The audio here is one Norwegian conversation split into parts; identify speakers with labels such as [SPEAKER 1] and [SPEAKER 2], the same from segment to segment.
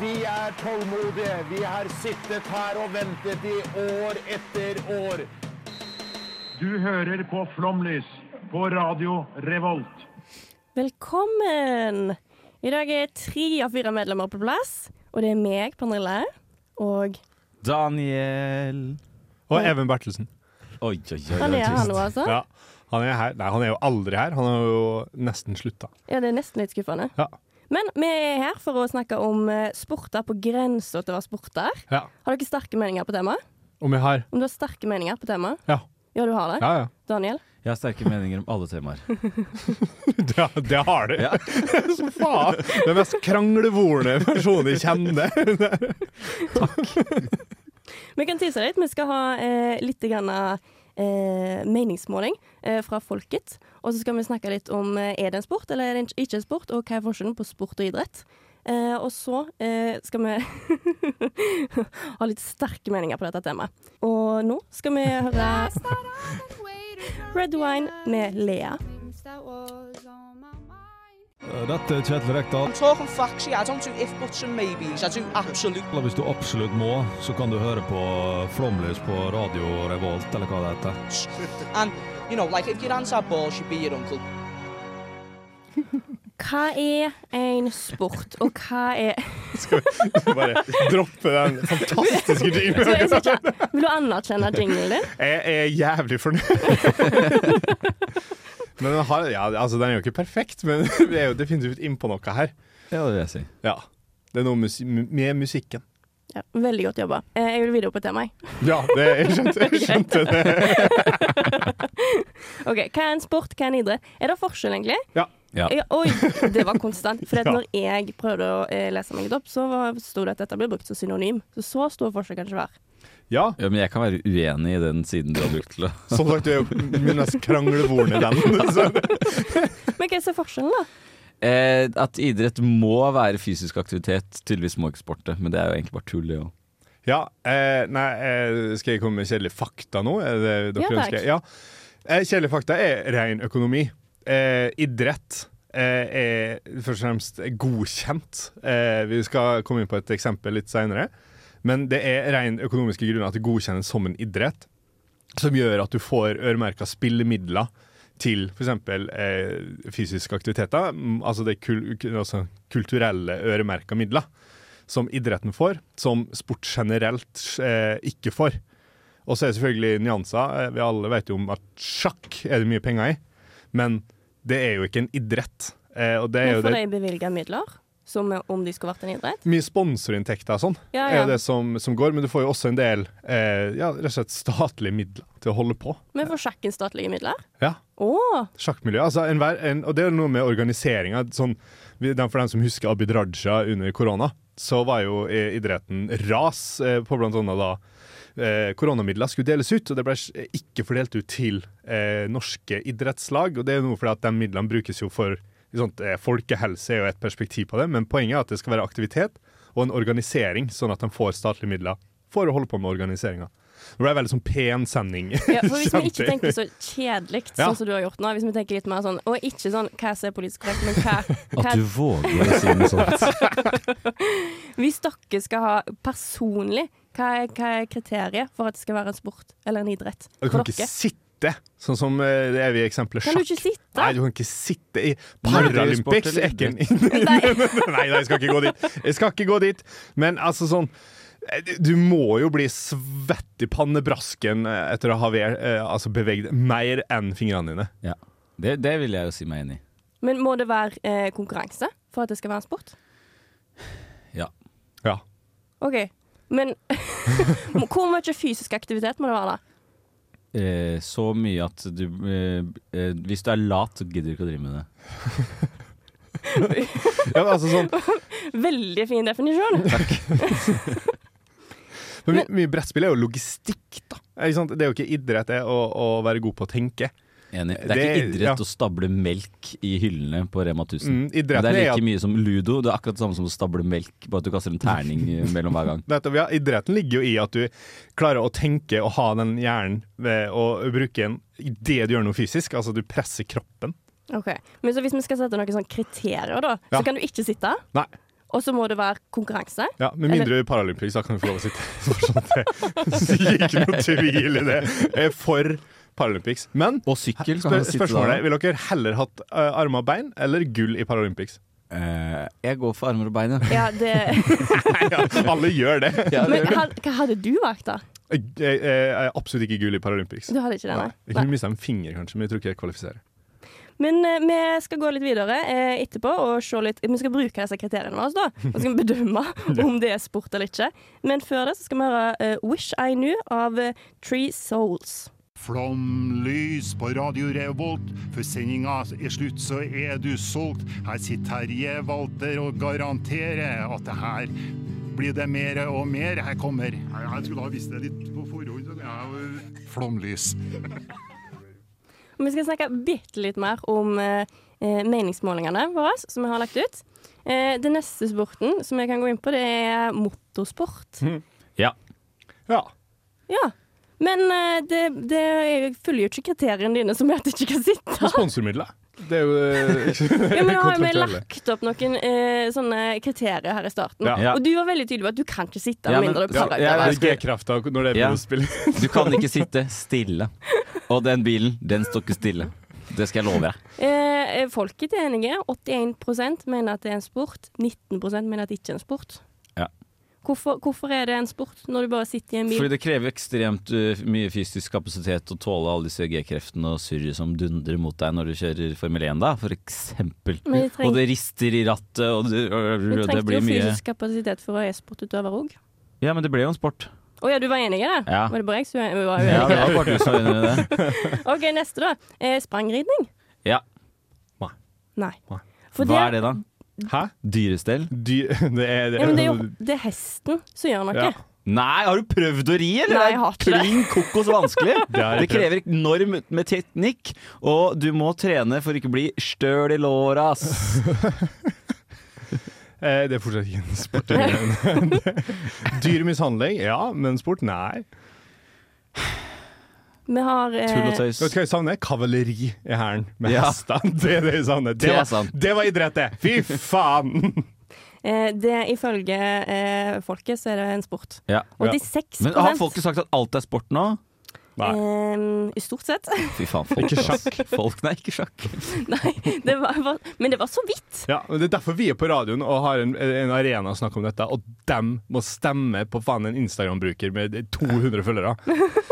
[SPEAKER 1] Vi er tålmodige. Vi har sittet her og ventet i år etter år.
[SPEAKER 2] Du hører på Flomlys på Radio Revolt.
[SPEAKER 3] Velkommen! I dag er tre av fire medlemmer på plass, og det er meg, Pernille, og
[SPEAKER 4] Daniel
[SPEAKER 5] Og Even Bertelsen.
[SPEAKER 4] Oi, oi, oi,
[SPEAKER 3] han
[SPEAKER 4] oi,
[SPEAKER 3] er her nå,
[SPEAKER 4] trist.
[SPEAKER 3] altså. Ja.
[SPEAKER 5] Ja. Han er, her. Nei, han er jo aldri her. Han har jo nesten slutta.
[SPEAKER 3] det er nesten litt skuffende.
[SPEAKER 5] Ja.
[SPEAKER 3] Men vi er her for å snakke om eh, sporter på grensa til å være sporter.
[SPEAKER 5] Ja.
[SPEAKER 3] Har dere sterke meninger på temaet?
[SPEAKER 5] Om jeg har
[SPEAKER 3] Om du har sterke meninger på temaet?
[SPEAKER 5] Ja.
[SPEAKER 3] Ja, du har det?
[SPEAKER 5] Ja, ja.
[SPEAKER 3] Daniel?
[SPEAKER 4] Jeg har sterke meninger om alle temaer.
[SPEAKER 5] Det, det har du.
[SPEAKER 4] Ja.
[SPEAKER 5] Som faen. Den mest kranglevorne personen jeg kjenner.
[SPEAKER 3] Vi kan tise litt. Vi skal ha eh, litt grann, eh, meningsmåling eh, fra folket. Og så skal vi snakke litt om eh, er det en sport eller er det ikke en sport, og hva er forskjellen på sport og idrett. Eh, og så eh, skal vi ha litt sterke meninger på dette temaet. Og nå skal vi høre Red Wine med Lea.
[SPEAKER 6] Eh, Dette er Kjetil Rekdal.
[SPEAKER 7] talk on facts, yeah. I don't do if buts and maybes. I do absolute
[SPEAKER 6] Hvis du absolutt må, så kan du høre på Flomlys på Radio Revolt, eller hva det heter.
[SPEAKER 7] and you know, like if your hands are balls, you be your uncle.
[SPEAKER 3] Hva er en sport, og hva er
[SPEAKER 5] Bare droppe den fantastiske
[SPEAKER 3] Så jeg
[SPEAKER 5] jinglen.
[SPEAKER 3] skal ikke- Vil du anerkjenne jinglen din?
[SPEAKER 5] Jeg er jævlig fornøyd. Men den, har, ja, altså, den er jo ikke perfekt, men vi er jo definitivt innpå noe her.
[SPEAKER 4] Ja, det vil jeg si.
[SPEAKER 5] Ja. Det er noe musi med musikken.
[SPEAKER 3] Ja, veldig godt jobba. Eh, jeg vil videre på temaet.
[SPEAKER 5] Ja, det, jeg skjønte, jeg skjønte det.
[SPEAKER 3] Ok, Hva er en sport, hva er en idrett? Er det forskjell, egentlig?
[SPEAKER 5] Ja.
[SPEAKER 4] Ja.
[SPEAKER 3] Ja, oi, det var konstant. For at
[SPEAKER 5] Ja.
[SPEAKER 3] når jeg prøvde å eh, lese meg litt opp, så var- sto det at dette ble brukt som synonym. Så så stor forskjell kan det ikke være.
[SPEAKER 5] ja.
[SPEAKER 4] Ja, men jeg kan være uenig i den siden du har brukt til å
[SPEAKER 5] Som sagt, du er jo min mest kranglevorne venn. Så.
[SPEAKER 3] Men hva er så forskjellen, da?
[SPEAKER 4] eh, At idrett må være fysisk aktivitet. Tydeligvis må ikke sport det, men det er jo egentlig bare tull, det òg.
[SPEAKER 5] Ja, eh, nei, eh, skal jeg komme med kjedelige fakta nå? Er det det dere
[SPEAKER 3] Ja, takk.
[SPEAKER 5] ønsker? Ja. Eh, kjedelige fakta er ren økonomi. Eh, idrett eh, er først og fremst godkjent. Eh, vi skal komme inn på et eksempel litt seinere. Men det er ren økonomiske grunner at det godkjennes som en idrett, som gjør at du får øremerka spillemidler til f.eks. Eh, fysiske aktiviteter. Mm, Altså det er kul altså kulturelle øremerka midler som idretten får, som sport generelt eh, ikke får. Og så er det selvfølgelig nyanser. Eh, Vi alle vet jo om at sjakk er det mye penger i, men det er jo ikke en idrett. Eh, og det er
[SPEAKER 3] Nå
[SPEAKER 5] jo
[SPEAKER 3] får
[SPEAKER 5] det
[SPEAKER 3] de bevilga midler, som om de skulle vært en idrett.
[SPEAKER 5] mye sponsorinntekter og sånn
[SPEAKER 3] Ja,
[SPEAKER 5] er
[SPEAKER 3] ja.
[SPEAKER 5] jo det som, som går, men du får jo også en del eh, ja, rett og slett statlige midler til å holde på.
[SPEAKER 3] Men får sjakken statlige midler?
[SPEAKER 5] Ja,
[SPEAKER 3] Å!
[SPEAKER 5] sjakkmiljø. Altså enhver- en, og det er jo noe med organiseringa. Sånn, vi- den- for dem som husker Abid Raja under korona, så var jo eh, idretten ras eh, på blant annet da eh, koronamidler skulle deles ut, og det ble s- eh, ikke fordelt ut til eh, norske idrettslag. Og det er jo noe fordi at de midlene brukes jo for sånt, eh, Folkehelse er jo et perspektiv på det, men poenget er at det skal være aktivitet og en organisering, sånn at de får statlige midler for å holde på med organiseringa. Det ble en veldig sånn pen sending.
[SPEAKER 3] Ja, for hvis vi
[SPEAKER 5] Kjempe-
[SPEAKER 3] ikke tenker så kjedelig,
[SPEAKER 5] Ja.
[SPEAKER 3] sånn som du har gjort nå, hvis vi tenker litt mer sånn Og ikke sånn hva som er politisk korrekt, men hva,
[SPEAKER 4] At du
[SPEAKER 3] hva
[SPEAKER 4] våger å si noe sånt.
[SPEAKER 3] Hvis dere skal ha personlig, hva er, hva er kriteriet for at det skal være en sport eller en idrett?
[SPEAKER 5] Og Du
[SPEAKER 3] For
[SPEAKER 5] kan ikke
[SPEAKER 3] dere?
[SPEAKER 5] sitte, sånn som eh, det er i eksempelet
[SPEAKER 3] Kan du
[SPEAKER 5] sjakk.
[SPEAKER 3] ikke sitte?
[SPEAKER 5] Nei, du kan ikke sitte i
[SPEAKER 4] Nei, det er jo
[SPEAKER 5] Paralympics!
[SPEAKER 4] sport
[SPEAKER 5] Er
[SPEAKER 4] eller
[SPEAKER 5] ikke en-
[SPEAKER 3] Nei.
[SPEAKER 5] Nei, nei, jeg skal ikke gå dit. Jeg skal ikke gå dit. Men altså sånn eh, Du må jo bli svett i pannebrasken eh, etter å ha ve- eh, altså, beveget mer enn fingrene dine.
[SPEAKER 4] Ja. Det, det vil jeg jo si meg enig i.
[SPEAKER 3] Men må det være eh, konkurranse for at det skal være en sport?
[SPEAKER 4] Ja.
[SPEAKER 5] Ja.
[SPEAKER 3] OK. Men hvor mye fysisk aktivitet må det være, da?
[SPEAKER 4] Eh, så mye at du eh, eh, Hvis du er lat, så gidder du ikke å drive med det.
[SPEAKER 5] ja men altså sånn
[SPEAKER 3] Veldig fin definisjon.
[SPEAKER 5] Men For my, mye brettspill er jo logistikk, da. Ikke sant? Det er jo ikke idrett det å, å være god på å tenke.
[SPEAKER 4] Enig. Det er ikke
[SPEAKER 5] Det-
[SPEAKER 4] idrett
[SPEAKER 5] ja.
[SPEAKER 4] å stable melk i hyllene på Rema 1000.
[SPEAKER 5] Mm,
[SPEAKER 4] Men det
[SPEAKER 5] idretten
[SPEAKER 4] er
[SPEAKER 5] er,
[SPEAKER 4] like
[SPEAKER 5] at,
[SPEAKER 4] mye som ludo. Det er akkurat det samme som å stable melk, bare at du kaster en terning eh, mellom hver gang.
[SPEAKER 5] nettopp, ja, idretten ligger jo i at du klarer å tenke og ha den hjernen ved å bruke den idet du gjør noe fysisk. Altså du presser kroppen.
[SPEAKER 3] Ok, Men så hvis vi skal sette noen sånne kriterier, da,
[SPEAKER 5] Ja.
[SPEAKER 3] så kan du ikke sitte.
[SPEAKER 5] Nei.
[SPEAKER 3] Og så må det være konkurranse.
[SPEAKER 5] Ja, Med mindre du er paralympics, da kan du få lov å sitte. Fortsatt, det. Så ikke noe tvil i det. Jeg er for paralympics. Men
[SPEAKER 4] Og sykkel kan
[SPEAKER 5] spør,
[SPEAKER 4] man sitte
[SPEAKER 5] spørsmålet er,
[SPEAKER 4] der.
[SPEAKER 5] vil dere heller hatt eh, armer og bein eller gull i paralympics?
[SPEAKER 4] Eh, jeg går for armer og bein, ja.
[SPEAKER 3] Ja, det,
[SPEAKER 5] Ja, alle gjør det.
[SPEAKER 4] Ja, det
[SPEAKER 3] men
[SPEAKER 4] gjør det.
[SPEAKER 3] ha, hva hadde du valgt, da?
[SPEAKER 5] Jeg, jeg, jeg er absolutt ikke gull i Paralympics.
[SPEAKER 3] Du hadde ikke det, nei?
[SPEAKER 5] Jeg kunne mista en finger, kanskje, men jeg tror ikke jeg kvalifiserer.
[SPEAKER 3] Men eh, vi skal gå litt videre eh, etterpå og se litt Vi skal bruke disse kriteriene våre, da. Og så skal vi bedømme om det er sport eller ikke. Men før det så skal vi høre eh, 'Wish I Knew' av eh, Three Souls.
[SPEAKER 8] Flomlys på Radio Revolt. Før sendinga er slutt, så er du solgt. Her sitter Terje Walter og garanterer at det her blir det mere og mer. Her kommer Jeg skulle ha visst det litt på forhånd. Flomlys.
[SPEAKER 3] Og Vi skal snakke bitte litt mer om eh, eh, meningsmålingene våre som vi har lagt ut. Eh, det neste sporten som jeg kan gå inn på, det er motorsport.
[SPEAKER 4] Mm. ja.
[SPEAKER 5] Ja.
[SPEAKER 3] Ja. Men eh, det, det følger jo ikke kriteriene dine, som er at jeg ikke kan sitte.
[SPEAKER 5] Sponsormidler. Det er jo eh,
[SPEAKER 3] Ja, men nå har jo vi
[SPEAKER 5] kontraktuelle.
[SPEAKER 3] lagt opp noen eh, sånne kriterier her i starten.
[SPEAKER 5] Ja.
[SPEAKER 4] Ja.
[SPEAKER 3] Og du var veldig tydelig på at du kan ikke sitte
[SPEAKER 4] Ja,
[SPEAKER 3] med
[SPEAKER 4] men-
[SPEAKER 3] mindre du
[SPEAKER 4] ja,
[SPEAKER 3] prøver
[SPEAKER 4] jeg
[SPEAKER 3] utover.
[SPEAKER 4] vet-
[SPEAKER 5] G-krafta når det er
[SPEAKER 4] Ja.
[SPEAKER 5] bilspill.
[SPEAKER 4] Du kan ikke sitte stille. Og den bilen, den står ikke stille. Det skal jeg love deg.
[SPEAKER 3] Eh, folket er enige. 81 mener at det er en sport. 19 mener at det ikke er en sport.
[SPEAKER 4] Ja.
[SPEAKER 3] Hvorfor, hvorfor er det en sport når du bare sitter i en bil?
[SPEAKER 4] Fordi det krever ekstremt uh, mye fysisk kapasitet å tåle alle disse G-kreftene og surret som dundrer mot deg når du kjører Formel 1, da, for eksempel.
[SPEAKER 3] Men vi trenger-
[SPEAKER 4] Og det rister i rattet, og det, og
[SPEAKER 3] Du
[SPEAKER 4] det
[SPEAKER 3] trengte jo
[SPEAKER 4] blir mye
[SPEAKER 3] fysisk kapasitet for å være e-sportutøver òg.
[SPEAKER 4] Ja, men det ble jo en sport.
[SPEAKER 3] Å ja, du var enig i det?
[SPEAKER 4] Ja.
[SPEAKER 3] Var det bare jeg som var uenig?
[SPEAKER 4] Ja, det var bare du som var enig i det.
[SPEAKER 3] OK, neste, da. Eh, sprangridning?
[SPEAKER 4] Ja.
[SPEAKER 3] Nei.
[SPEAKER 5] Nei.
[SPEAKER 3] For
[SPEAKER 4] Hva er det, da?
[SPEAKER 5] Hæ?
[SPEAKER 4] Dyrestell?
[SPEAKER 5] Dy det er det.
[SPEAKER 3] Ja, men det er jo det er hesten som gjør noe.
[SPEAKER 5] Ja.
[SPEAKER 4] Nei, har du prøvd å ri, eller?
[SPEAKER 3] Nei, jeg har ikke det.
[SPEAKER 4] Klin kokos vanskelig.
[SPEAKER 5] Det har
[SPEAKER 4] det
[SPEAKER 5] jeg
[SPEAKER 4] krever enorm med teknikk, og du må trene for ikke bli støl i låra, ass.
[SPEAKER 5] Eh, det er fortsatt ikke en sport. Dyr mishandling? Ja, men sport? Nei.
[SPEAKER 3] Vi har eh,
[SPEAKER 4] Tull og tøys.
[SPEAKER 5] Vet du hva jeg savner? Kavaleri i hæren med
[SPEAKER 4] Ja.
[SPEAKER 5] hester. Det er det jeg savner.
[SPEAKER 4] Det
[SPEAKER 5] Det
[SPEAKER 4] er
[SPEAKER 5] var,
[SPEAKER 4] sant.
[SPEAKER 5] det var idrett, det! Fy faen!
[SPEAKER 3] eh, det, Ifølge eh, folket så er det en sport.
[SPEAKER 4] Ja.
[SPEAKER 5] Ja.
[SPEAKER 3] 86
[SPEAKER 4] Men har folket sagt at alt er sport nå?
[SPEAKER 5] Nei.
[SPEAKER 3] eh, I stort sett.
[SPEAKER 4] Fy faen, folk.
[SPEAKER 5] Ikke
[SPEAKER 4] ass. Folk, nei, ikke sjakk.
[SPEAKER 3] Nei, det var, var, men det var så vidt.
[SPEAKER 5] Ja, men Det er derfor vi er på radioen og har en, en arena å snakke om dette, og dem må stemme på faen en Instagram-bruker med 200 følgere.
[SPEAKER 4] Ikke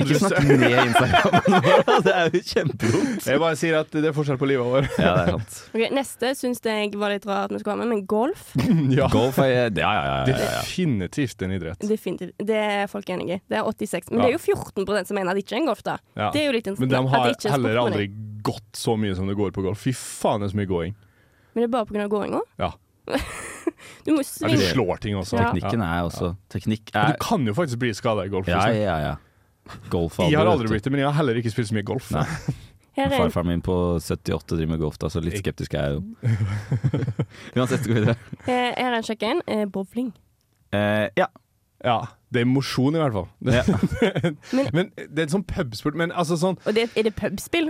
[SPEAKER 5] Andrus,
[SPEAKER 4] snakk ned Instagram. Det er jo kjempedumt.
[SPEAKER 5] jeg bare sier at det er forskjell på livet vårt.
[SPEAKER 4] Ja, det er sant.
[SPEAKER 3] Ok, Neste syns jeg var litt rart vi skulle ha med, men golf
[SPEAKER 5] Ja,
[SPEAKER 4] Golf er Ja, ja, ja. ja, ja.
[SPEAKER 5] definitivt en idrett.
[SPEAKER 3] Definitivt. Det er folk enige i. Det er 86. Men det er jo 14 som mener at det ikke er en golf, da.
[SPEAKER 5] Ja.
[SPEAKER 3] Det er jo litt en-
[SPEAKER 5] Men
[SPEAKER 3] at
[SPEAKER 5] de
[SPEAKER 3] det
[SPEAKER 5] har
[SPEAKER 3] ikke er en
[SPEAKER 5] heller
[SPEAKER 3] sport, mener
[SPEAKER 5] aldri
[SPEAKER 3] jeg.
[SPEAKER 5] gått så mye som det går på golf. Fy faen, det er så mye gåing.
[SPEAKER 3] Men det er bare pga. gåinga.
[SPEAKER 5] Ja.
[SPEAKER 3] Du må jo
[SPEAKER 5] Ja, du
[SPEAKER 3] svinge.
[SPEAKER 5] slår ting også.
[SPEAKER 3] Ja.
[SPEAKER 4] Teknikken er også Teknikk
[SPEAKER 5] Ja.
[SPEAKER 4] er
[SPEAKER 5] Du kan jo faktisk bli skada i golf.
[SPEAKER 4] Ja,
[SPEAKER 5] liksom.
[SPEAKER 4] ja, ja. Golf
[SPEAKER 5] Jeg har aldri blitt det, men jeg har heller ikke spilt så mye golf.
[SPEAKER 4] Nei.
[SPEAKER 3] Her er en
[SPEAKER 4] Farfaren min på 78 driver med golf, da, så litt skeptisk er jeg jo. Uansett, gå videre.
[SPEAKER 3] Eh, Her er en sjekk inn. Eh, bowling.
[SPEAKER 4] Eh, ja.
[SPEAKER 5] Ja, Det er mosjon, i hvert fall.
[SPEAKER 4] Ja.
[SPEAKER 5] men, Det er en sånn pubsport. Men altså sånn
[SPEAKER 3] Og det, er det pubspill?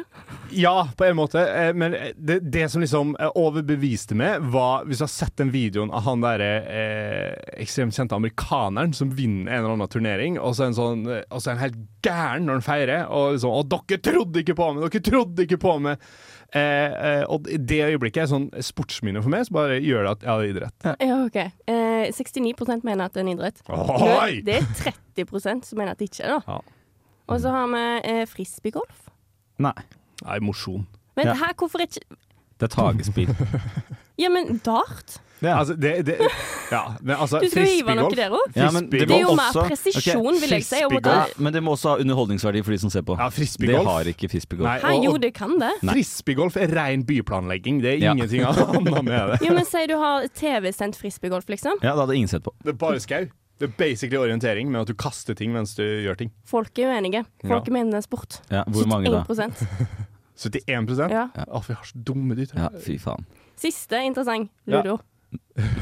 [SPEAKER 5] Ja, på en måte. eh, Men det, det som liksom eh, overbeviste meg, var hvis du har sett den videoen av han derre eh, ekstremt kjente amerikaneren som vinner en eller annen turnering, og så er han sånn, eh, og så er han helt gæren når han feirer. Og liksom 'Å, dere trodde ikke på meg! Dere trodde ikke på meg!' Eh, eh, og det øyeblikket er sånn sportsminne for meg, så bare gjør det at ja, det er idrett.
[SPEAKER 3] Ja, OK. Eh, 69 mener at det er en idrett.
[SPEAKER 5] Oi!
[SPEAKER 3] Det er 30 som mener at det ikke er det.
[SPEAKER 5] Ja.
[SPEAKER 3] Og så har vi eh, frisbeegolf.
[SPEAKER 4] Nei.
[SPEAKER 5] Nei, mosjon.
[SPEAKER 3] Men
[SPEAKER 4] Ja.
[SPEAKER 3] her, hvorfor ikke
[SPEAKER 4] Det er tagespill.
[SPEAKER 3] Ja, men dart?
[SPEAKER 5] Altså, det, det Ja, men altså,
[SPEAKER 3] Du skal jo hive noe
[SPEAKER 5] frisbeegolf
[SPEAKER 3] der òg.
[SPEAKER 4] Ja, men
[SPEAKER 3] Det er jo
[SPEAKER 4] må
[SPEAKER 3] mer
[SPEAKER 4] også-
[SPEAKER 3] presisjon, vil jeg si. og måtte-
[SPEAKER 4] Ja, men det må også ha underholdningsverdi for de som ser på.
[SPEAKER 5] Ja,
[SPEAKER 4] det
[SPEAKER 5] frisbeegolf.
[SPEAKER 4] har ikke frisbeegolf.
[SPEAKER 5] Nei,
[SPEAKER 3] Hæ,
[SPEAKER 5] og-
[SPEAKER 3] jo,
[SPEAKER 5] og
[SPEAKER 3] det kan det.
[SPEAKER 5] Frisbeegolf er ren byplanlegging. Det er
[SPEAKER 4] Ja.
[SPEAKER 5] ingenting annet med det.
[SPEAKER 3] Jo, men Si du har TV-sendt frisbeegolf, liksom.
[SPEAKER 4] Ja, det hadde ingen sett på.
[SPEAKER 5] Det er bare skau. Det er basically orientering, men at du kaster ting mens du gjør ting.
[SPEAKER 3] Folk er uenige. Folk
[SPEAKER 4] Ja.
[SPEAKER 3] mener det er sport.
[SPEAKER 4] Ja, hvor mange da?
[SPEAKER 3] 71%.
[SPEAKER 5] 71
[SPEAKER 3] Ja.
[SPEAKER 5] Å, vi har så dumme dyr.
[SPEAKER 4] Ja, fy faen.
[SPEAKER 3] Siste interessant. Ludo.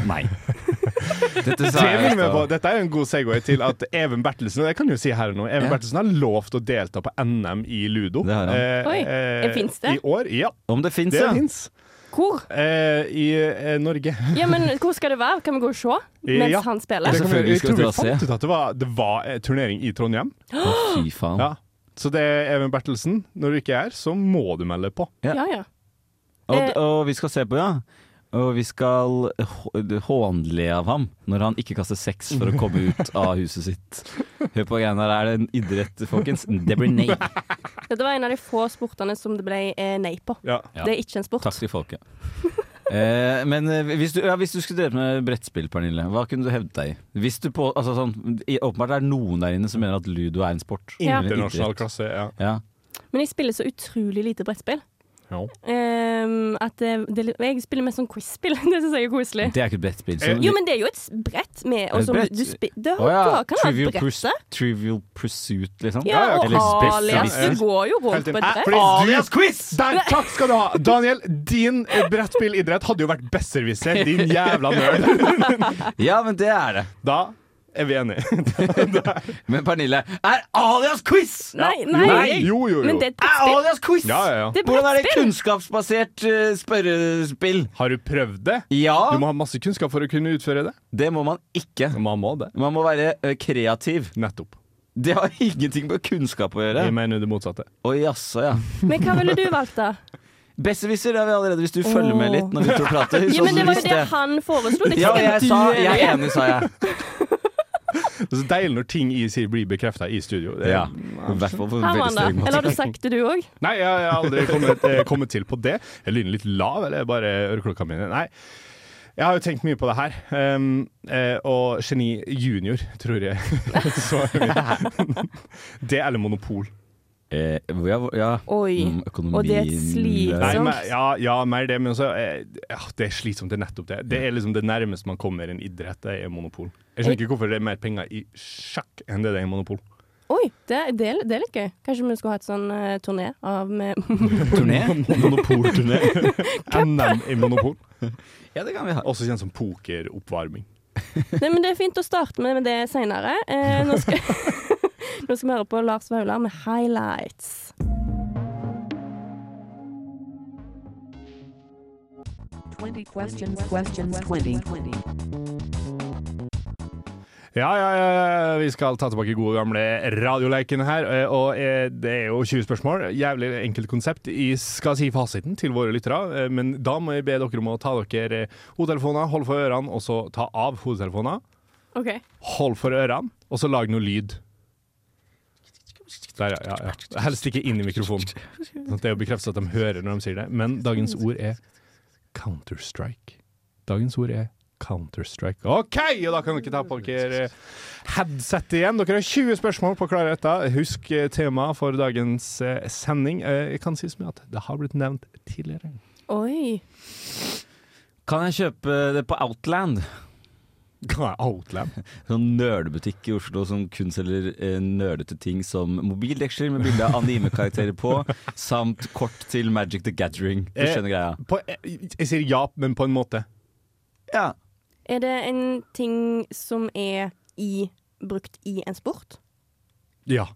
[SPEAKER 4] Nei. Dette sa
[SPEAKER 5] Det
[SPEAKER 4] jeg
[SPEAKER 5] vil
[SPEAKER 4] i
[SPEAKER 5] vi på.
[SPEAKER 4] stad.
[SPEAKER 5] Dette er jo en god segway til at Even Bertelsen og jeg kan jo si her nå, Even
[SPEAKER 4] Ja.
[SPEAKER 5] Bertelsen har lovt å delta på NM i ludo. Eh,
[SPEAKER 4] Det har han.
[SPEAKER 3] Oi, det finnes det?
[SPEAKER 5] I år, ja.
[SPEAKER 4] Om det fins,
[SPEAKER 5] Det
[SPEAKER 4] ja.
[SPEAKER 5] fins.
[SPEAKER 3] Hvor?
[SPEAKER 5] Eh, I eh, Norge.
[SPEAKER 4] Altså,
[SPEAKER 3] Ja, men hvor skal det være? Kan vi gå og se mens
[SPEAKER 5] Ja.
[SPEAKER 3] han
[SPEAKER 5] Det
[SPEAKER 3] spiller?
[SPEAKER 4] Det-
[SPEAKER 5] kan vi-
[SPEAKER 4] Selvfølgelig
[SPEAKER 5] jeg
[SPEAKER 4] skal vi
[SPEAKER 5] tror vi
[SPEAKER 4] dra og
[SPEAKER 5] fant
[SPEAKER 4] se.
[SPEAKER 5] ut at det var, det var eh, turnering i Trondheim.
[SPEAKER 4] Å, fy faen.
[SPEAKER 5] Ja. Så det er Even Bertelsen. Når du ikke er, så må du melde på.
[SPEAKER 4] Ja.
[SPEAKER 3] Ja, ja. Eh.
[SPEAKER 4] Og, og vi skal se på, ja. Og vi skal hå- hånle av ham når han ikke kaster sex for å komme ut av huset sitt. Hør på greiene her, er det en idrett, folkens? Det blir nei.
[SPEAKER 3] Dette var en av de få sportene som det ble eh, nei på.
[SPEAKER 5] Ja.
[SPEAKER 4] Ja.
[SPEAKER 3] Det er ikke en sport.
[SPEAKER 4] Takk til folket. Eh, men eh, hvis du, ja, hvis du skulle drevet med brettspill, Pernille, hva kunne du hevdet deg i? Hvis du på, altså sånn, i- Åpenbart er det noen der inne som mener at ludo er en sport.
[SPEAKER 3] Ja.
[SPEAKER 4] Eller en
[SPEAKER 5] Internasjonal
[SPEAKER 4] idrett.
[SPEAKER 5] klasse. Ja.
[SPEAKER 4] Ja.
[SPEAKER 3] Men jeg spiller så utrolig lite brettspill.
[SPEAKER 5] Ja.
[SPEAKER 3] Ehm, at det, det, jeg spiller mest sånn quiz-spill. Det syns jeg er koselig.
[SPEAKER 4] Det er ikke et brettspill. så-
[SPEAKER 3] Eh, Jo, men det er jo et s- brett med og
[SPEAKER 4] Et
[SPEAKER 3] som
[SPEAKER 4] brett?
[SPEAKER 3] du spi- Det
[SPEAKER 4] Å ja,
[SPEAKER 3] da kan du ha
[SPEAKER 4] Trivial, Purs
[SPEAKER 3] brettet.
[SPEAKER 4] Trivial Pursuit, liksom.
[SPEAKER 3] Ja, og
[SPEAKER 4] Eller spes-
[SPEAKER 3] alias.
[SPEAKER 4] ja.
[SPEAKER 3] Du går jo rundt
[SPEAKER 5] Helt
[SPEAKER 3] på
[SPEAKER 5] inn.
[SPEAKER 3] et
[SPEAKER 5] Hæ?
[SPEAKER 3] brett.
[SPEAKER 5] Fordi
[SPEAKER 4] Alias
[SPEAKER 5] du- Der, takk skal du ha! Daniel, din eh, brettspillidrett hadde jo vært besserwisser, din jævla nerd.
[SPEAKER 4] ja, men det er det.
[SPEAKER 5] Da er vi enige.
[SPEAKER 4] Men Pernille, er alias quiz?!
[SPEAKER 3] Nei,
[SPEAKER 5] Jo,
[SPEAKER 3] nei.
[SPEAKER 5] jo, jo. jo.
[SPEAKER 3] Men det er et
[SPEAKER 4] Er
[SPEAKER 3] brettspill.
[SPEAKER 4] alias quiz?!
[SPEAKER 5] Ja, ja, ja.
[SPEAKER 3] Det er
[SPEAKER 4] Hvordan er det
[SPEAKER 3] brettspill.
[SPEAKER 4] kunnskapsbasert eh, spørrespill?
[SPEAKER 5] Har du prøvd det?
[SPEAKER 4] Ja,
[SPEAKER 5] Du må ha masse kunnskap for å kunne utføre det.
[SPEAKER 4] det må man ikke.
[SPEAKER 5] Man må det.
[SPEAKER 4] Man må være eh, kreativ.
[SPEAKER 5] Nettopp.
[SPEAKER 4] Det har ingenting med kunnskap å gjøre.
[SPEAKER 5] Jeg mener det motsatte.
[SPEAKER 4] Å jaså, ja.
[SPEAKER 3] Men hva ville du valgt, da?
[SPEAKER 4] Besserwisser er vi allerede, hvis du følger
[SPEAKER 3] Åh.
[SPEAKER 4] med litt når vi to prater.
[SPEAKER 3] Ja,
[SPEAKER 4] sånn
[SPEAKER 3] men
[SPEAKER 4] du
[SPEAKER 3] det var jo
[SPEAKER 4] visste.
[SPEAKER 3] det han foreslo. Det er ikke
[SPEAKER 4] Ja,
[SPEAKER 3] sikkert
[SPEAKER 4] jeg
[SPEAKER 3] du
[SPEAKER 4] sa
[SPEAKER 3] er
[SPEAKER 4] jeg
[SPEAKER 3] enig.
[SPEAKER 4] er enig, sa jeg.
[SPEAKER 5] Det er så deilig når ting i sier blir bekrefta i studio. Det-
[SPEAKER 4] Ja. I hvert fall på en
[SPEAKER 3] Her var
[SPEAKER 4] veldig altså.
[SPEAKER 3] han da.
[SPEAKER 4] stygg måte.
[SPEAKER 3] Eller har du sagt det, du òg?
[SPEAKER 5] Nei, jeg, jeg har aldri kommet, eh, kommet til på det. Er lyden litt lav, eller er bare øreklokka mine? Nei. Jeg har jo tenkt mye på det her, ehm, eh, og Geni Junior, tror jeg. Svaret mitt. det eller Monopol.
[SPEAKER 4] Eh, ja, ja.
[SPEAKER 3] Oi.
[SPEAKER 4] Mm, økonomien
[SPEAKER 3] Og det er et slitsomt-
[SPEAKER 4] Sånn.
[SPEAKER 5] Nei,
[SPEAKER 3] Sant.
[SPEAKER 5] men, ja, ja, mer det, men også eh, ja, Det er slitsomt, det er nettopp det. Det er liksom det nærmeste man kommer en idrett, det er Monopol. Jeg skjønner ikke hvorfor det er mer penger i sjakk enn det det er i Monopol.
[SPEAKER 3] Oi, det, det, er- det er litt gøy. Kanskje vi skulle ha et sånn eh, turné av med
[SPEAKER 4] Turné?
[SPEAKER 5] Monopolturné. NM i Monopol.
[SPEAKER 4] Ja, det kan vi ha.
[SPEAKER 5] Også kjent som pokeroppvarming.
[SPEAKER 3] Nei, men det er fint å starte med med det seinere. Eh, nå, skal- nå skal vi høre på Lars Vaular med 'Highlights'.
[SPEAKER 5] Ja, ja, ja, ja, vi skal ta tilbake gode gamle radioleiken her. eh, Og eh, det er jo 20 spørsmål. Jævlig enkelt konsept. Jeg skal si fasiten til våre lyttere, eh, men da må jeg be dere om å ta dere eh, hodetelefoner, hold for ørene, og så ta av hodetelefoner.
[SPEAKER 3] OK.
[SPEAKER 5] Hold for ørene, og så lag noe lyd. Der, ja, ja, ja. Helst ikke inn i mikrofonen. Sånn at Det er jo bekreftet at de hører når de sier det. Men dagens ord er Counter-Strike. Dagens ord er Counter-Strike. OK, og da kan dere ta på dere headset igjen. Dere har 20 spørsmål på å klare dette. Husk eh, temaet for dagens eh, sending. Eh, Jeg kan si så mye at det har blitt nevnt tidligere.
[SPEAKER 3] Oi.
[SPEAKER 4] Kan jeg kjøpe det på Outland?
[SPEAKER 5] Outland.
[SPEAKER 4] Sånn nerdebutikk i Oslo som kun selger eh, nerdete ting som mobildeksler med bilde av anime-karakterer på, samt kort til Magic the Gathering. Du
[SPEAKER 5] Eh,
[SPEAKER 4] skjønner greia?
[SPEAKER 5] På, jeg, jeg sier ja, men på en måte.
[SPEAKER 4] Ja.
[SPEAKER 3] Er det en ting som er i brukt i en sport?
[SPEAKER 5] Ja.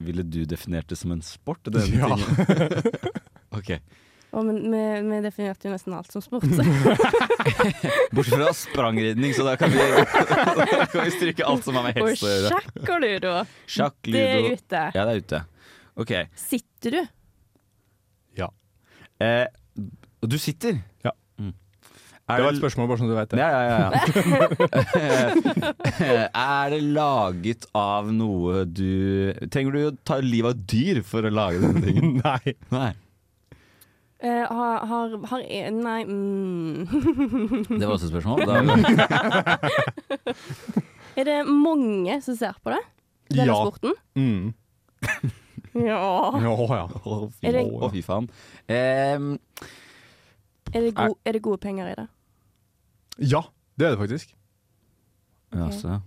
[SPEAKER 4] Ville du definert det som en sport? Denne
[SPEAKER 5] Ja.
[SPEAKER 4] tingen? ok.
[SPEAKER 3] Å, men vi, vi definerte jo nesten alt som sport.
[SPEAKER 4] Bortsett fra sprangridning, så da kan vi, da kan vi stryke alt som har med
[SPEAKER 3] Og
[SPEAKER 4] helse å gjøre.
[SPEAKER 3] sjakk og ludo.
[SPEAKER 4] Sjakk,
[SPEAKER 3] Det er
[SPEAKER 4] ludo
[SPEAKER 3] ute.
[SPEAKER 4] Ja, det er ute. Ok.
[SPEAKER 3] Sitter du?
[SPEAKER 5] ja.
[SPEAKER 4] Eh, og du sitter?
[SPEAKER 5] Ja.
[SPEAKER 4] Mm.
[SPEAKER 5] Det
[SPEAKER 4] Er
[SPEAKER 5] var et spørsmål, bare sånn at du vet det.
[SPEAKER 4] Ja, ja, ja. ja. er det laget av noe du Trenger du å ta livet av et dyr for å lage denne tingen?
[SPEAKER 5] Nei.
[SPEAKER 4] Nei.
[SPEAKER 3] Eh, har, har, har en Nei. Mm.
[SPEAKER 4] Det var også et spørsmål. Da,
[SPEAKER 3] Er det mange som ser på det? Denne
[SPEAKER 5] Ja.
[SPEAKER 3] sporten?
[SPEAKER 5] Mm.
[SPEAKER 3] Ja.
[SPEAKER 5] Å ja.
[SPEAKER 4] å, fy,
[SPEAKER 3] Er det-
[SPEAKER 4] å, fy faen. Em,
[SPEAKER 3] Er det, go er det gode penger i det?
[SPEAKER 5] Ja, det er det faktisk.
[SPEAKER 4] Altså.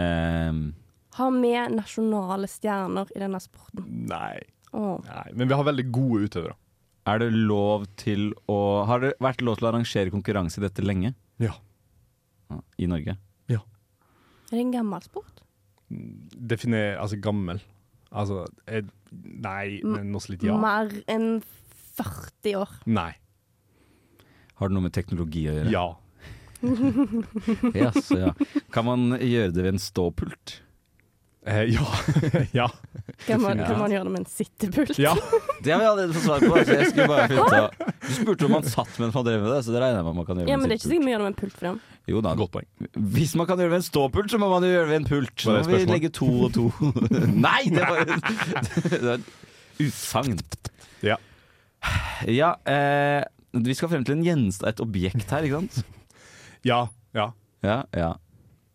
[SPEAKER 4] Ehm,
[SPEAKER 3] Har vi nasjonale stjerner i denne sporten?
[SPEAKER 5] Nei.
[SPEAKER 3] Åh.
[SPEAKER 5] Nei. Men vi har veldig gode utøvere.
[SPEAKER 4] er det lov til å Har det vært lov til å arrangere konkurranse i dette lenge?
[SPEAKER 5] Ja.
[SPEAKER 4] Ja, I Norge?
[SPEAKER 3] Er det en gammel sport?
[SPEAKER 5] Definer Altså gammel. Altså eh, Nei, men også litt ja.
[SPEAKER 3] Mer enn 40 år.
[SPEAKER 5] Nei.
[SPEAKER 4] Har det noe med teknologi å gjøre?
[SPEAKER 5] Ja.
[SPEAKER 4] Jaså, ja. Kan man gjøre det ved en ståpult?
[SPEAKER 5] Eh, ja. ja.
[SPEAKER 3] Kan man, kan
[SPEAKER 4] Definitivt.
[SPEAKER 3] man gjøre det med en sittepult?
[SPEAKER 5] Ja.
[SPEAKER 4] Det har vi allerede fått svar på. altså, jeg skulle bare finne ut av- Du spurte om man satt mens man drev med det, så det regner jeg med man kan gjøre.
[SPEAKER 3] Ja,
[SPEAKER 4] med
[SPEAKER 3] men det er
[SPEAKER 4] sitt
[SPEAKER 3] ikke sikkert vi gjør det med en pult for den.
[SPEAKER 4] pult. Jo da.
[SPEAKER 5] Godt poeng.
[SPEAKER 4] Hvis man kan gjøre det ved en ståpult, så må man jo gjøre det ved en pult. Så må
[SPEAKER 5] Var det et
[SPEAKER 4] vi
[SPEAKER 5] spørsmål?
[SPEAKER 4] legge to og to. Nei, det var det var et utsagn.
[SPEAKER 5] Ja.
[SPEAKER 4] Ja, eh, vi skal frem til en gjenstand, et objekt her, ikke sant?
[SPEAKER 5] Ja. Ja.
[SPEAKER 4] Ja, ja.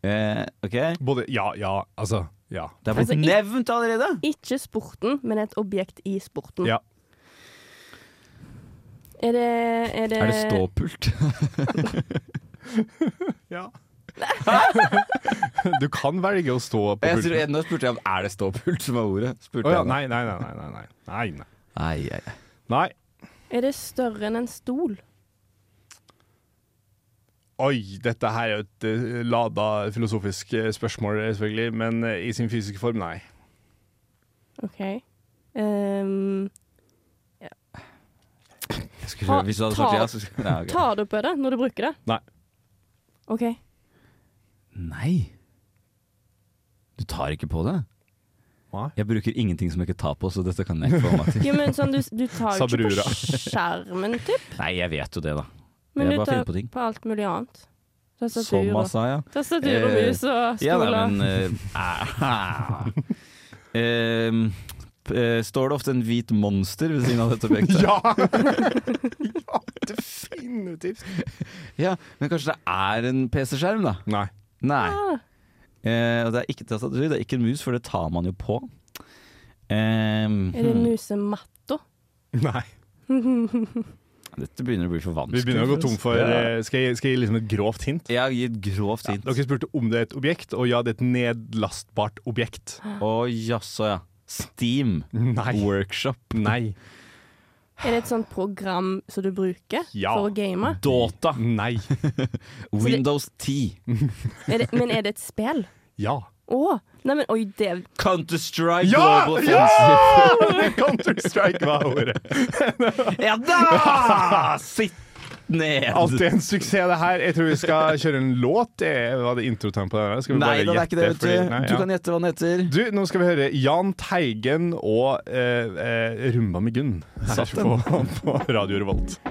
[SPEAKER 4] Eh, ok. Det
[SPEAKER 5] Både ja, ja, altså ja.
[SPEAKER 4] er blitt
[SPEAKER 3] Altså, i-
[SPEAKER 4] nevnt allerede.
[SPEAKER 3] Ikke sporten, men et objekt i sporten.
[SPEAKER 5] Ja.
[SPEAKER 3] Er det Er det,
[SPEAKER 4] Er det ståpult?
[SPEAKER 5] Du kan velge å stå på
[SPEAKER 4] Jeg
[SPEAKER 5] pulten.
[SPEAKER 4] tror, nå spurte jeg om er det ståpult som er ordet. Spurte
[SPEAKER 5] Å ja,
[SPEAKER 4] jeg da.
[SPEAKER 5] nei, nei, nei, nei, nei, nei, nei.
[SPEAKER 4] Ai, ai, ai.
[SPEAKER 5] Nei.
[SPEAKER 3] er det større enn en stol?
[SPEAKER 5] Oi, dette her er jo et eh, lada filosofisk eh, spørsmål, eh, selvfølgelig, men eh, i sin fysiske form, nei.
[SPEAKER 3] OK. Ehm,
[SPEAKER 4] Jeg Skulle, hvis du hadde svart ja, så skulle Nei, ok.
[SPEAKER 3] Tar du på det når du bruker det?
[SPEAKER 5] Nei.
[SPEAKER 3] OK.
[SPEAKER 4] Nei. Du tar ikke på det?
[SPEAKER 5] Nei.
[SPEAKER 4] Jeg bruker ingenting som jeg ikke tar på, så dette kan jeg ikke få meg til.
[SPEAKER 3] Jo, men sånn, du, du tar jo ikke
[SPEAKER 5] Sabrura.
[SPEAKER 3] på skjermen, typ.
[SPEAKER 4] Nei, jeg vet jo det, da.
[SPEAKER 3] Men
[SPEAKER 4] Jeg
[SPEAKER 3] du
[SPEAKER 4] bare
[SPEAKER 3] tar
[SPEAKER 4] finner på
[SPEAKER 3] på,
[SPEAKER 4] ting.
[SPEAKER 3] alt mulig annet.
[SPEAKER 4] Som
[SPEAKER 3] Tastatur
[SPEAKER 4] han
[SPEAKER 3] og-
[SPEAKER 4] sa, ja.
[SPEAKER 3] tastatur og
[SPEAKER 4] Eh,
[SPEAKER 3] mus og
[SPEAKER 4] Ja,
[SPEAKER 3] stoler.
[SPEAKER 4] nei, men eh, eh, p- eh, Står det ofte en hvit monster ved siden av dette objektet?
[SPEAKER 5] Ja! ja, definitivt.
[SPEAKER 4] Ja, Men kanskje det er en PC-skjerm, da?
[SPEAKER 5] Nei.
[SPEAKER 4] Nei.
[SPEAKER 3] Ah,
[SPEAKER 4] Eh, og det er ikke tastatur, det er ikke en mus, for det tar man jo på.
[SPEAKER 3] er
[SPEAKER 4] Eh,
[SPEAKER 3] det
[SPEAKER 4] hmm.
[SPEAKER 3] musematta?
[SPEAKER 5] Nei.
[SPEAKER 4] Dette begynner å bli for vanskelig.
[SPEAKER 5] Vi begynner å gå tom for
[SPEAKER 4] ja.
[SPEAKER 5] eh, Skal jeg, skal jeg gi liksom et grovt hint?
[SPEAKER 4] Jeg har gitt grovt hint.
[SPEAKER 5] Dere spurte om det er et objekt, og ja, det er et nedlastbart objekt.
[SPEAKER 4] Å, jaså, ja. Steam
[SPEAKER 5] Nei.
[SPEAKER 4] workshop.
[SPEAKER 5] Nei.
[SPEAKER 3] Er det et sånt program som du bruker
[SPEAKER 5] Ja.
[SPEAKER 3] for å game?
[SPEAKER 4] Dota.
[SPEAKER 5] Nei.
[SPEAKER 4] Windows 10.
[SPEAKER 3] Er det, men er det et spill?
[SPEAKER 5] Ja.
[SPEAKER 3] Å! nei, men oi, det
[SPEAKER 4] Counter-Strike
[SPEAKER 5] Ja!
[SPEAKER 4] Global
[SPEAKER 5] Ja!
[SPEAKER 4] Offensive.
[SPEAKER 5] Counter-Strike var ordet.
[SPEAKER 4] Ja da! Sitt ned.
[SPEAKER 5] Alltid en suksess, det her. Jeg tror vi skal kjøre en låt. Eh, Var det introtegn på den? her? Skal vi
[SPEAKER 4] Nei,
[SPEAKER 5] bare
[SPEAKER 4] da, det er ikke det,
[SPEAKER 5] gjette,
[SPEAKER 4] vet du.
[SPEAKER 5] fordi- nei,
[SPEAKER 4] Du
[SPEAKER 5] ja.
[SPEAKER 4] kan gjette hva den heter.
[SPEAKER 5] Du, nå skal vi høre Jahn Teigen og eh, eh, Rumba med Gunn her på, på Radio Revolt.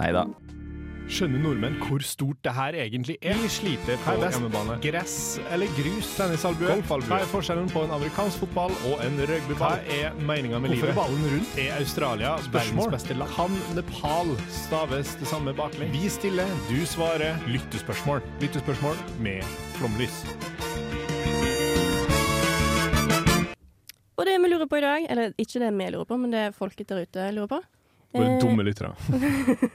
[SPEAKER 4] Nei da.
[SPEAKER 5] Skjønner nordmenn hvor stort det her egentlig er? Vi sliter på hjemmebane. Gress eller grus? Tennisalbue. Hva er forskjellen på en amerikansk fotball og en rugbyball? Hva er meninga med livet? Hvorfor er ballen rundt? Er Australia verdens beste land? Kan Nepal staves det samme baklengs? Vi stiller, du svarer. Lyttespørsmål. Lyttespørsmål med flomlys.
[SPEAKER 3] Og det vi lurer på i dag, eller ikke det vi lurer på, men det folket der ute lurer på
[SPEAKER 4] Eh,
[SPEAKER 3] Eh,
[SPEAKER 5] Bare dumme lyttere.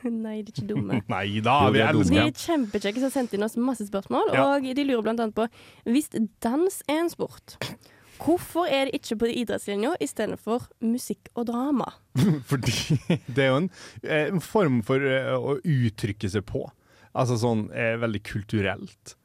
[SPEAKER 3] Nei, de er ikke dumme.
[SPEAKER 5] Nei da,
[SPEAKER 4] Jo, de
[SPEAKER 5] vi
[SPEAKER 4] er
[SPEAKER 5] elsker
[SPEAKER 3] De
[SPEAKER 4] dumme.
[SPEAKER 3] er kjempekjekke som har sendt inn oss masse spørsmål,
[SPEAKER 5] Ja.
[SPEAKER 3] og de lurer blant annet på Hvis dans er en sport, hvorfor er det ikke på idrettslinja istedenfor musikk og drama?
[SPEAKER 5] Fordi det er jo en, eh, en form for eh, å uttrykke seg på. Altså sånn eh, veldig kulturelt.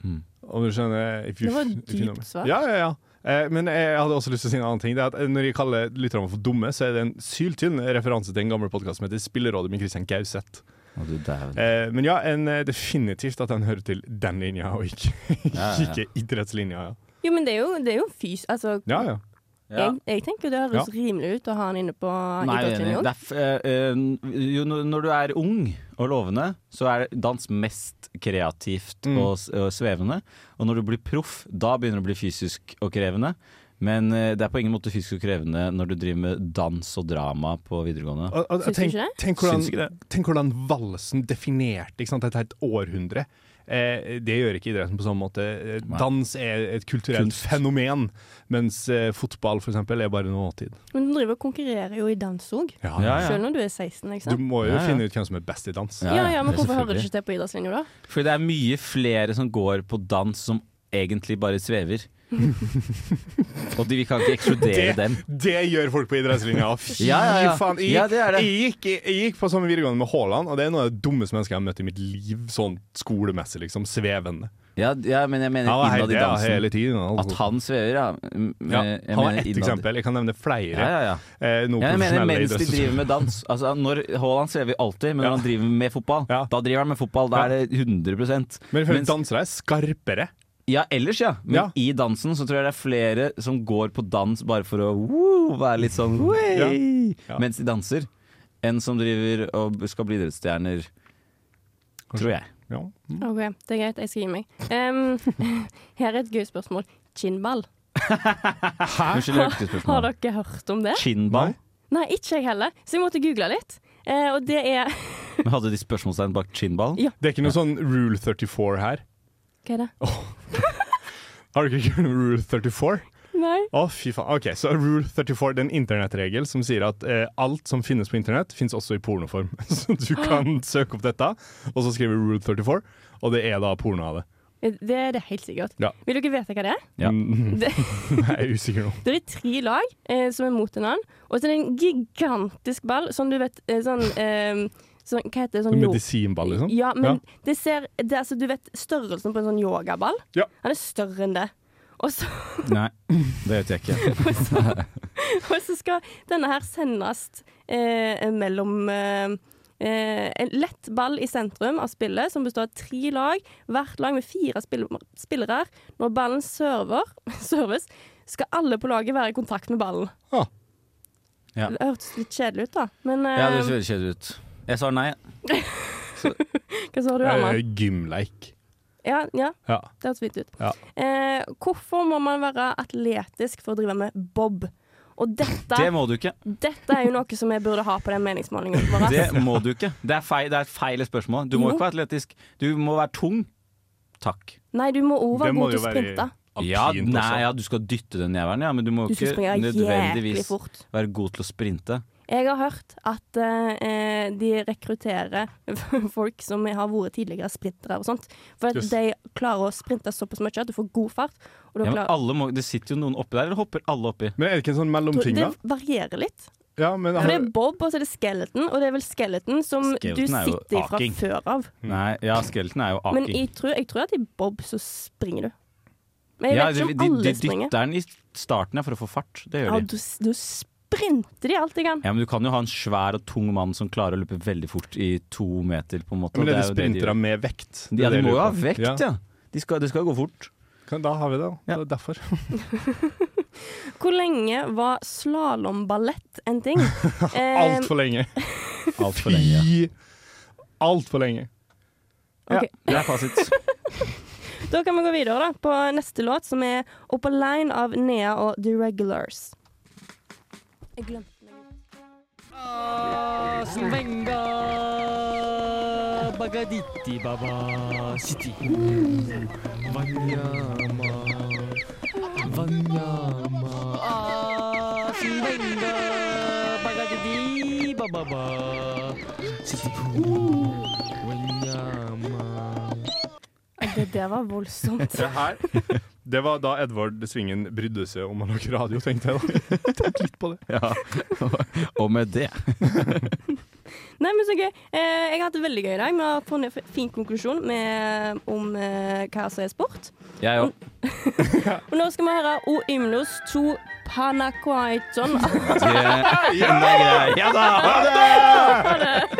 [SPEAKER 4] Mm.
[SPEAKER 5] Om du skjønner eh, if you-
[SPEAKER 3] Det var
[SPEAKER 5] if you know
[SPEAKER 3] dypt
[SPEAKER 5] me.
[SPEAKER 3] svar.
[SPEAKER 5] Ja, ja, ja. Eh, men jeg hadde også lyst til å si en annen ting. Det er at eh, Når jeg kaller lytterne for dumme, så er det en syltynn referanse til en gammel podkast som heter Spillerådet med Christian Gauseth.
[SPEAKER 4] Å, du dæven.
[SPEAKER 5] Eh, men ja, en, eh, definitivt at den hører til den linja, og ikke,
[SPEAKER 4] Ja, ja, ja.
[SPEAKER 5] ikke idrettslinja. Ja,
[SPEAKER 3] Jo, men det er jo, det er jo fys... Altså,
[SPEAKER 5] ja. ja.
[SPEAKER 4] Ja.
[SPEAKER 3] jeg, jeg tenker jo det høres rimelig ut å ha han inne på
[SPEAKER 4] Nei, jeg er enig.
[SPEAKER 3] idrettslinja.
[SPEAKER 4] Det er f- eh, eh, jo, når når du er ung og lovende, så er dans mest kreativt
[SPEAKER 5] Mm.
[SPEAKER 4] og, s- og svevende. Og når du blir proff, da begynner det å bli fysisk og krevende. Men eh, det er på ingen måte fysisk og krevende når du driver med dans og drama på videregående.
[SPEAKER 5] Og, og,
[SPEAKER 3] Syns du
[SPEAKER 5] tenk,
[SPEAKER 3] ikke det?
[SPEAKER 5] Tenk
[SPEAKER 4] Syns ikke
[SPEAKER 5] hvordan,
[SPEAKER 4] det.
[SPEAKER 5] tenk hvordan valsen definerte ikke sant, et helt århundre. Eh, det gjør ikke idretten på samme måte. Eh,
[SPEAKER 4] Nei.
[SPEAKER 5] Dans er et kulturelt
[SPEAKER 4] Kunst.
[SPEAKER 5] fenomen, mens eh, fotball for eksempel, er bare noe nåtid.
[SPEAKER 3] Men du driver og konkurrerer jo i dans òg,
[SPEAKER 5] Ja,
[SPEAKER 4] Ja, ja.
[SPEAKER 3] selv når du er 16. ikke
[SPEAKER 5] Du
[SPEAKER 3] sant?
[SPEAKER 5] må jo
[SPEAKER 4] Ja, ja.
[SPEAKER 5] finne ut hvem som er best i dans.
[SPEAKER 3] Ja, ja, men
[SPEAKER 4] det er
[SPEAKER 3] hvorfor hører du
[SPEAKER 4] selvfølgelig.
[SPEAKER 3] ikke til på idrettslinja da?
[SPEAKER 4] Fordi det er mye flere som går på dans som egentlig bare svever. og de, vi kan ikke ekskludere
[SPEAKER 5] Det-
[SPEAKER 4] dem.
[SPEAKER 5] Det gjør folk på idrettslinja. Fy
[SPEAKER 4] Ja, ja, ja.
[SPEAKER 5] faen. Jeg,
[SPEAKER 4] Ja, det er det.
[SPEAKER 5] Jeg, gikk, jeg gikk på samme videregående med Haaland, og det er noe av det dummeste mennesket jeg har møtt i mitt liv, sånn skolemessig, liksom. Svevende.
[SPEAKER 4] Ja, ja men jeg mener
[SPEAKER 5] Han var
[SPEAKER 4] Eh, innad i
[SPEAKER 5] helt- ja, hele
[SPEAKER 4] dansen.
[SPEAKER 5] tiden. altså.
[SPEAKER 4] At han svever, ja. M-
[SPEAKER 5] ja,
[SPEAKER 4] jeg
[SPEAKER 5] han var
[SPEAKER 4] mener
[SPEAKER 5] ett
[SPEAKER 4] innad-
[SPEAKER 5] eksempel. Jeg kan nevne flere.
[SPEAKER 4] Ja, ja, ja.
[SPEAKER 5] Eh, noen
[SPEAKER 4] Ja, jeg mener
[SPEAKER 5] profesjonelle
[SPEAKER 4] mens de
[SPEAKER 5] idrettsutøvere.
[SPEAKER 4] driver med dans. Altså, når Haaland svever alltid, men når
[SPEAKER 5] Ja.
[SPEAKER 4] han driver med fotball,
[SPEAKER 5] Ja.
[SPEAKER 4] da driver han med fotball. Da er det 100
[SPEAKER 5] Men ifølge
[SPEAKER 4] Mens-
[SPEAKER 5] dansere er skarpere.
[SPEAKER 4] Ja, ellers, ja. Men
[SPEAKER 5] Ja.
[SPEAKER 4] i dansen så tror jeg det er flere som går på dans bare for å woo, være litt sånn «Wey!»
[SPEAKER 5] Ja.
[SPEAKER 4] mens de danser, enn som driver og skal bli idrettsstjerner. Tror jeg.
[SPEAKER 5] Ja.
[SPEAKER 3] Ok, det er greit, jeg skal gi meg. Em, her er et gøy spørsmål. Kinnball.
[SPEAKER 4] Unnskyld, jeg hørte ikke
[SPEAKER 3] Har
[SPEAKER 4] spørsmålet.
[SPEAKER 3] dere hørt om det?
[SPEAKER 4] Kinnball?
[SPEAKER 3] Nei, ikke jeg heller, så jeg måtte google litt. Eh, og det er
[SPEAKER 4] Men hadde de spørsmålstegn bak kinnball?
[SPEAKER 3] Ja.
[SPEAKER 5] Det er ikke noe sånn Rule 34 her.
[SPEAKER 3] Hva er det?
[SPEAKER 5] Har du ikke hørt om Rule 34?
[SPEAKER 3] Nei.
[SPEAKER 5] Å, fy faen. Ok, så Rule 34 det er en internettregel som sier at eh, alt som finnes på internett, finnes også i pornoform. Så du kan søke opp dette, og så skriver Rule 34, og det er da porno av det.
[SPEAKER 3] Eh, Det er det helt sikkert.
[SPEAKER 5] Ja.
[SPEAKER 3] Vil dere vite hva det er?
[SPEAKER 4] Ja.
[SPEAKER 5] Mm,
[SPEAKER 3] Det,
[SPEAKER 5] jeg er usikker nå.
[SPEAKER 3] det er tre lag eh, som er mot hverandre. Og så er det en gigantisk ball, sånn du vet eh, sånn, eh, sånn Hva heter det? Sånn
[SPEAKER 5] Som
[SPEAKER 3] yo-
[SPEAKER 5] medisinball, liksom?
[SPEAKER 3] Ja, men det ser det, er altså, Du vet størrelsen på en sånn yogaball?
[SPEAKER 5] Ja.
[SPEAKER 3] Han er større enn det. Og så,
[SPEAKER 4] Nei, det vet jeg ikke.
[SPEAKER 3] og så skal denne her sendes eh, mellom eh, eh, En lett ball i sentrum av spillet, som består av tre lag. Hvert lag med fire spill spillere. Når ballen server, serves, skal alle på laget være i kontakt med ballen.
[SPEAKER 5] Ah.
[SPEAKER 4] Ja.
[SPEAKER 3] Det hørtes litt kjedelig ut, da. Men eh,
[SPEAKER 4] Ja, det høres veldig kjedelig ut. Jeg svarer nei.
[SPEAKER 3] hva sa du,
[SPEAKER 5] Eh,
[SPEAKER 3] Herman?
[SPEAKER 5] Gymleik.
[SPEAKER 3] Ja, ja,
[SPEAKER 5] Ja.
[SPEAKER 3] Det hørtes fint ut.
[SPEAKER 5] Ja.
[SPEAKER 3] Eh, hvorfor må man være atletisk for å drive med bob? Og dette,
[SPEAKER 4] Det må du ikke.
[SPEAKER 3] dette er jo noe som jeg burde ha på den meningsmålingen. vår.
[SPEAKER 4] Det må du ikke. Det er feil, det er et feil spørsmål. Du må
[SPEAKER 3] Jo.
[SPEAKER 4] ikke være atletisk. Du må være tung. Takk.
[SPEAKER 3] Nei, du må òg
[SPEAKER 5] Det
[SPEAKER 3] være
[SPEAKER 5] må
[SPEAKER 3] god til
[SPEAKER 5] jo
[SPEAKER 3] å
[SPEAKER 5] være
[SPEAKER 3] sprinte.
[SPEAKER 4] Ja,
[SPEAKER 5] alpint
[SPEAKER 4] nei,
[SPEAKER 5] også.
[SPEAKER 4] ja, du skal dytte den jævelen, ja, men du må
[SPEAKER 3] Du skal
[SPEAKER 4] ikke
[SPEAKER 3] springe jæklig
[SPEAKER 4] nødvendigvis
[SPEAKER 3] fort.
[SPEAKER 4] være god til å sprinte.
[SPEAKER 3] Jeg har hørt at eh, de rekrutterer folk som har vært tidligere sprintere og sånt. For at
[SPEAKER 5] Just.
[SPEAKER 3] de klarer å sprinte såpass mye at du får god fart. Og du
[SPEAKER 4] Ja, men
[SPEAKER 3] klarer,
[SPEAKER 4] alle må, det sitter jo noen oppi der, eller hopper alle oppi?
[SPEAKER 5] Men er det ikke en sånn mellomting,
[SPEAKER 3] det
[SPEAKER 5] da?
[SPEAKER 3] varierer litt.
[SPEAKER 5] Ja, men,
[SPEAKER 3] For det er bob, og så er det skeleton, og det er vel skeleton som du
[SPEAKER 4] Skeleton er jo
[SPEAKER 3] sitter i fra
[SPEAKER 4] aking.
[SPEAKER 3] før av.
[SPEAKER 5] Mm.
[SPEAKER 4] Nei, ja, skeleton er jo
[SPEAKER 3] Men
[SPEAKER 4] aking.
[SPEAKER 3] jeg tror, jeg tror at i bob så springer du. Men jeg
[SPEAKER 4] Ja,
[SPEAKER 3] vet
[SPEAKER 4] de,
[SPEAKER 3] ikke om
[SPEAKER 4] de,
[SPEAKER 3] alle
[SPEAKER 4] de
[SPEAKER 3] springer.
[SPEAKER 4] dytter den i starten ja, for å få fart. Det
[SPEAKER 3] Ja,
[SPEAKER 4] gjør de.
[SPEAKER 3] du, du sprinter de alt de kan.
[SPEAKER 4] Ja, Men du kan jo ha en svær og tung mann som klarer å løpe veldig fort i to meter, på en måte. og
[SPEAKER 5] men er det
[SPEAKER 4] jo de
[SPEAKER 5] sprintere
[SPEAKER 4] gjør.
[SPEAKER 5] med vekt? Det er
[SPEAKER 4] Ja, de
[SPEAKER 5] det jeg
[SPEAKER 4] må jo
[SPEAKER 5] lurer
[SPEAKER 4] ha
[SPEAKER 5] på.
[SPEAKER 4] vekt, ja. De skal, det skal gå fort.
[SPEAKER 5] Kan- Da har vi det, da.
[SPEAKER 4] Ja.
[SPEAKER 5] Det er derfor.
[SPEAKER 3] Hvor lenge var slalåmballett en ting? Eh,
[SPEAKER 5] Altfor lenge.
[SPEAKER 4] Altfor lenge.
[SPEAKER 5] Altfor lenge.
[SPEAKER 3] ok.
[SPEAKER 4] Det er fasit.
[SPEAKER 3] Da kan vi gå videre da, på neste låt, som er Up a Line av Nea og The Regulars. Jeg glemte meg. Det der var voldsomt.
[SPEAKER 5] Det her Det var da Edvard Svingen brydde seg om å lage radio, tenkte jeg da. Tenk litt på det.
[SPEAKER 4] Ja. Og med det
[SPEAKER 3] Nei, men så gøy. Eh, jeg har hatt det veldig gøy i dag. Vi har funnet en fin konklusjon med, om eh, hva som er sport.
[SPEAKER 4] Jeg òg.
[SPEAKER 3] Og nå skal vi høre O Ymnos to Panakwaiton.
[SPEAKER 4] Det, det er greit. Ja da! Ha det!
[SPEAKER 3] Ha det!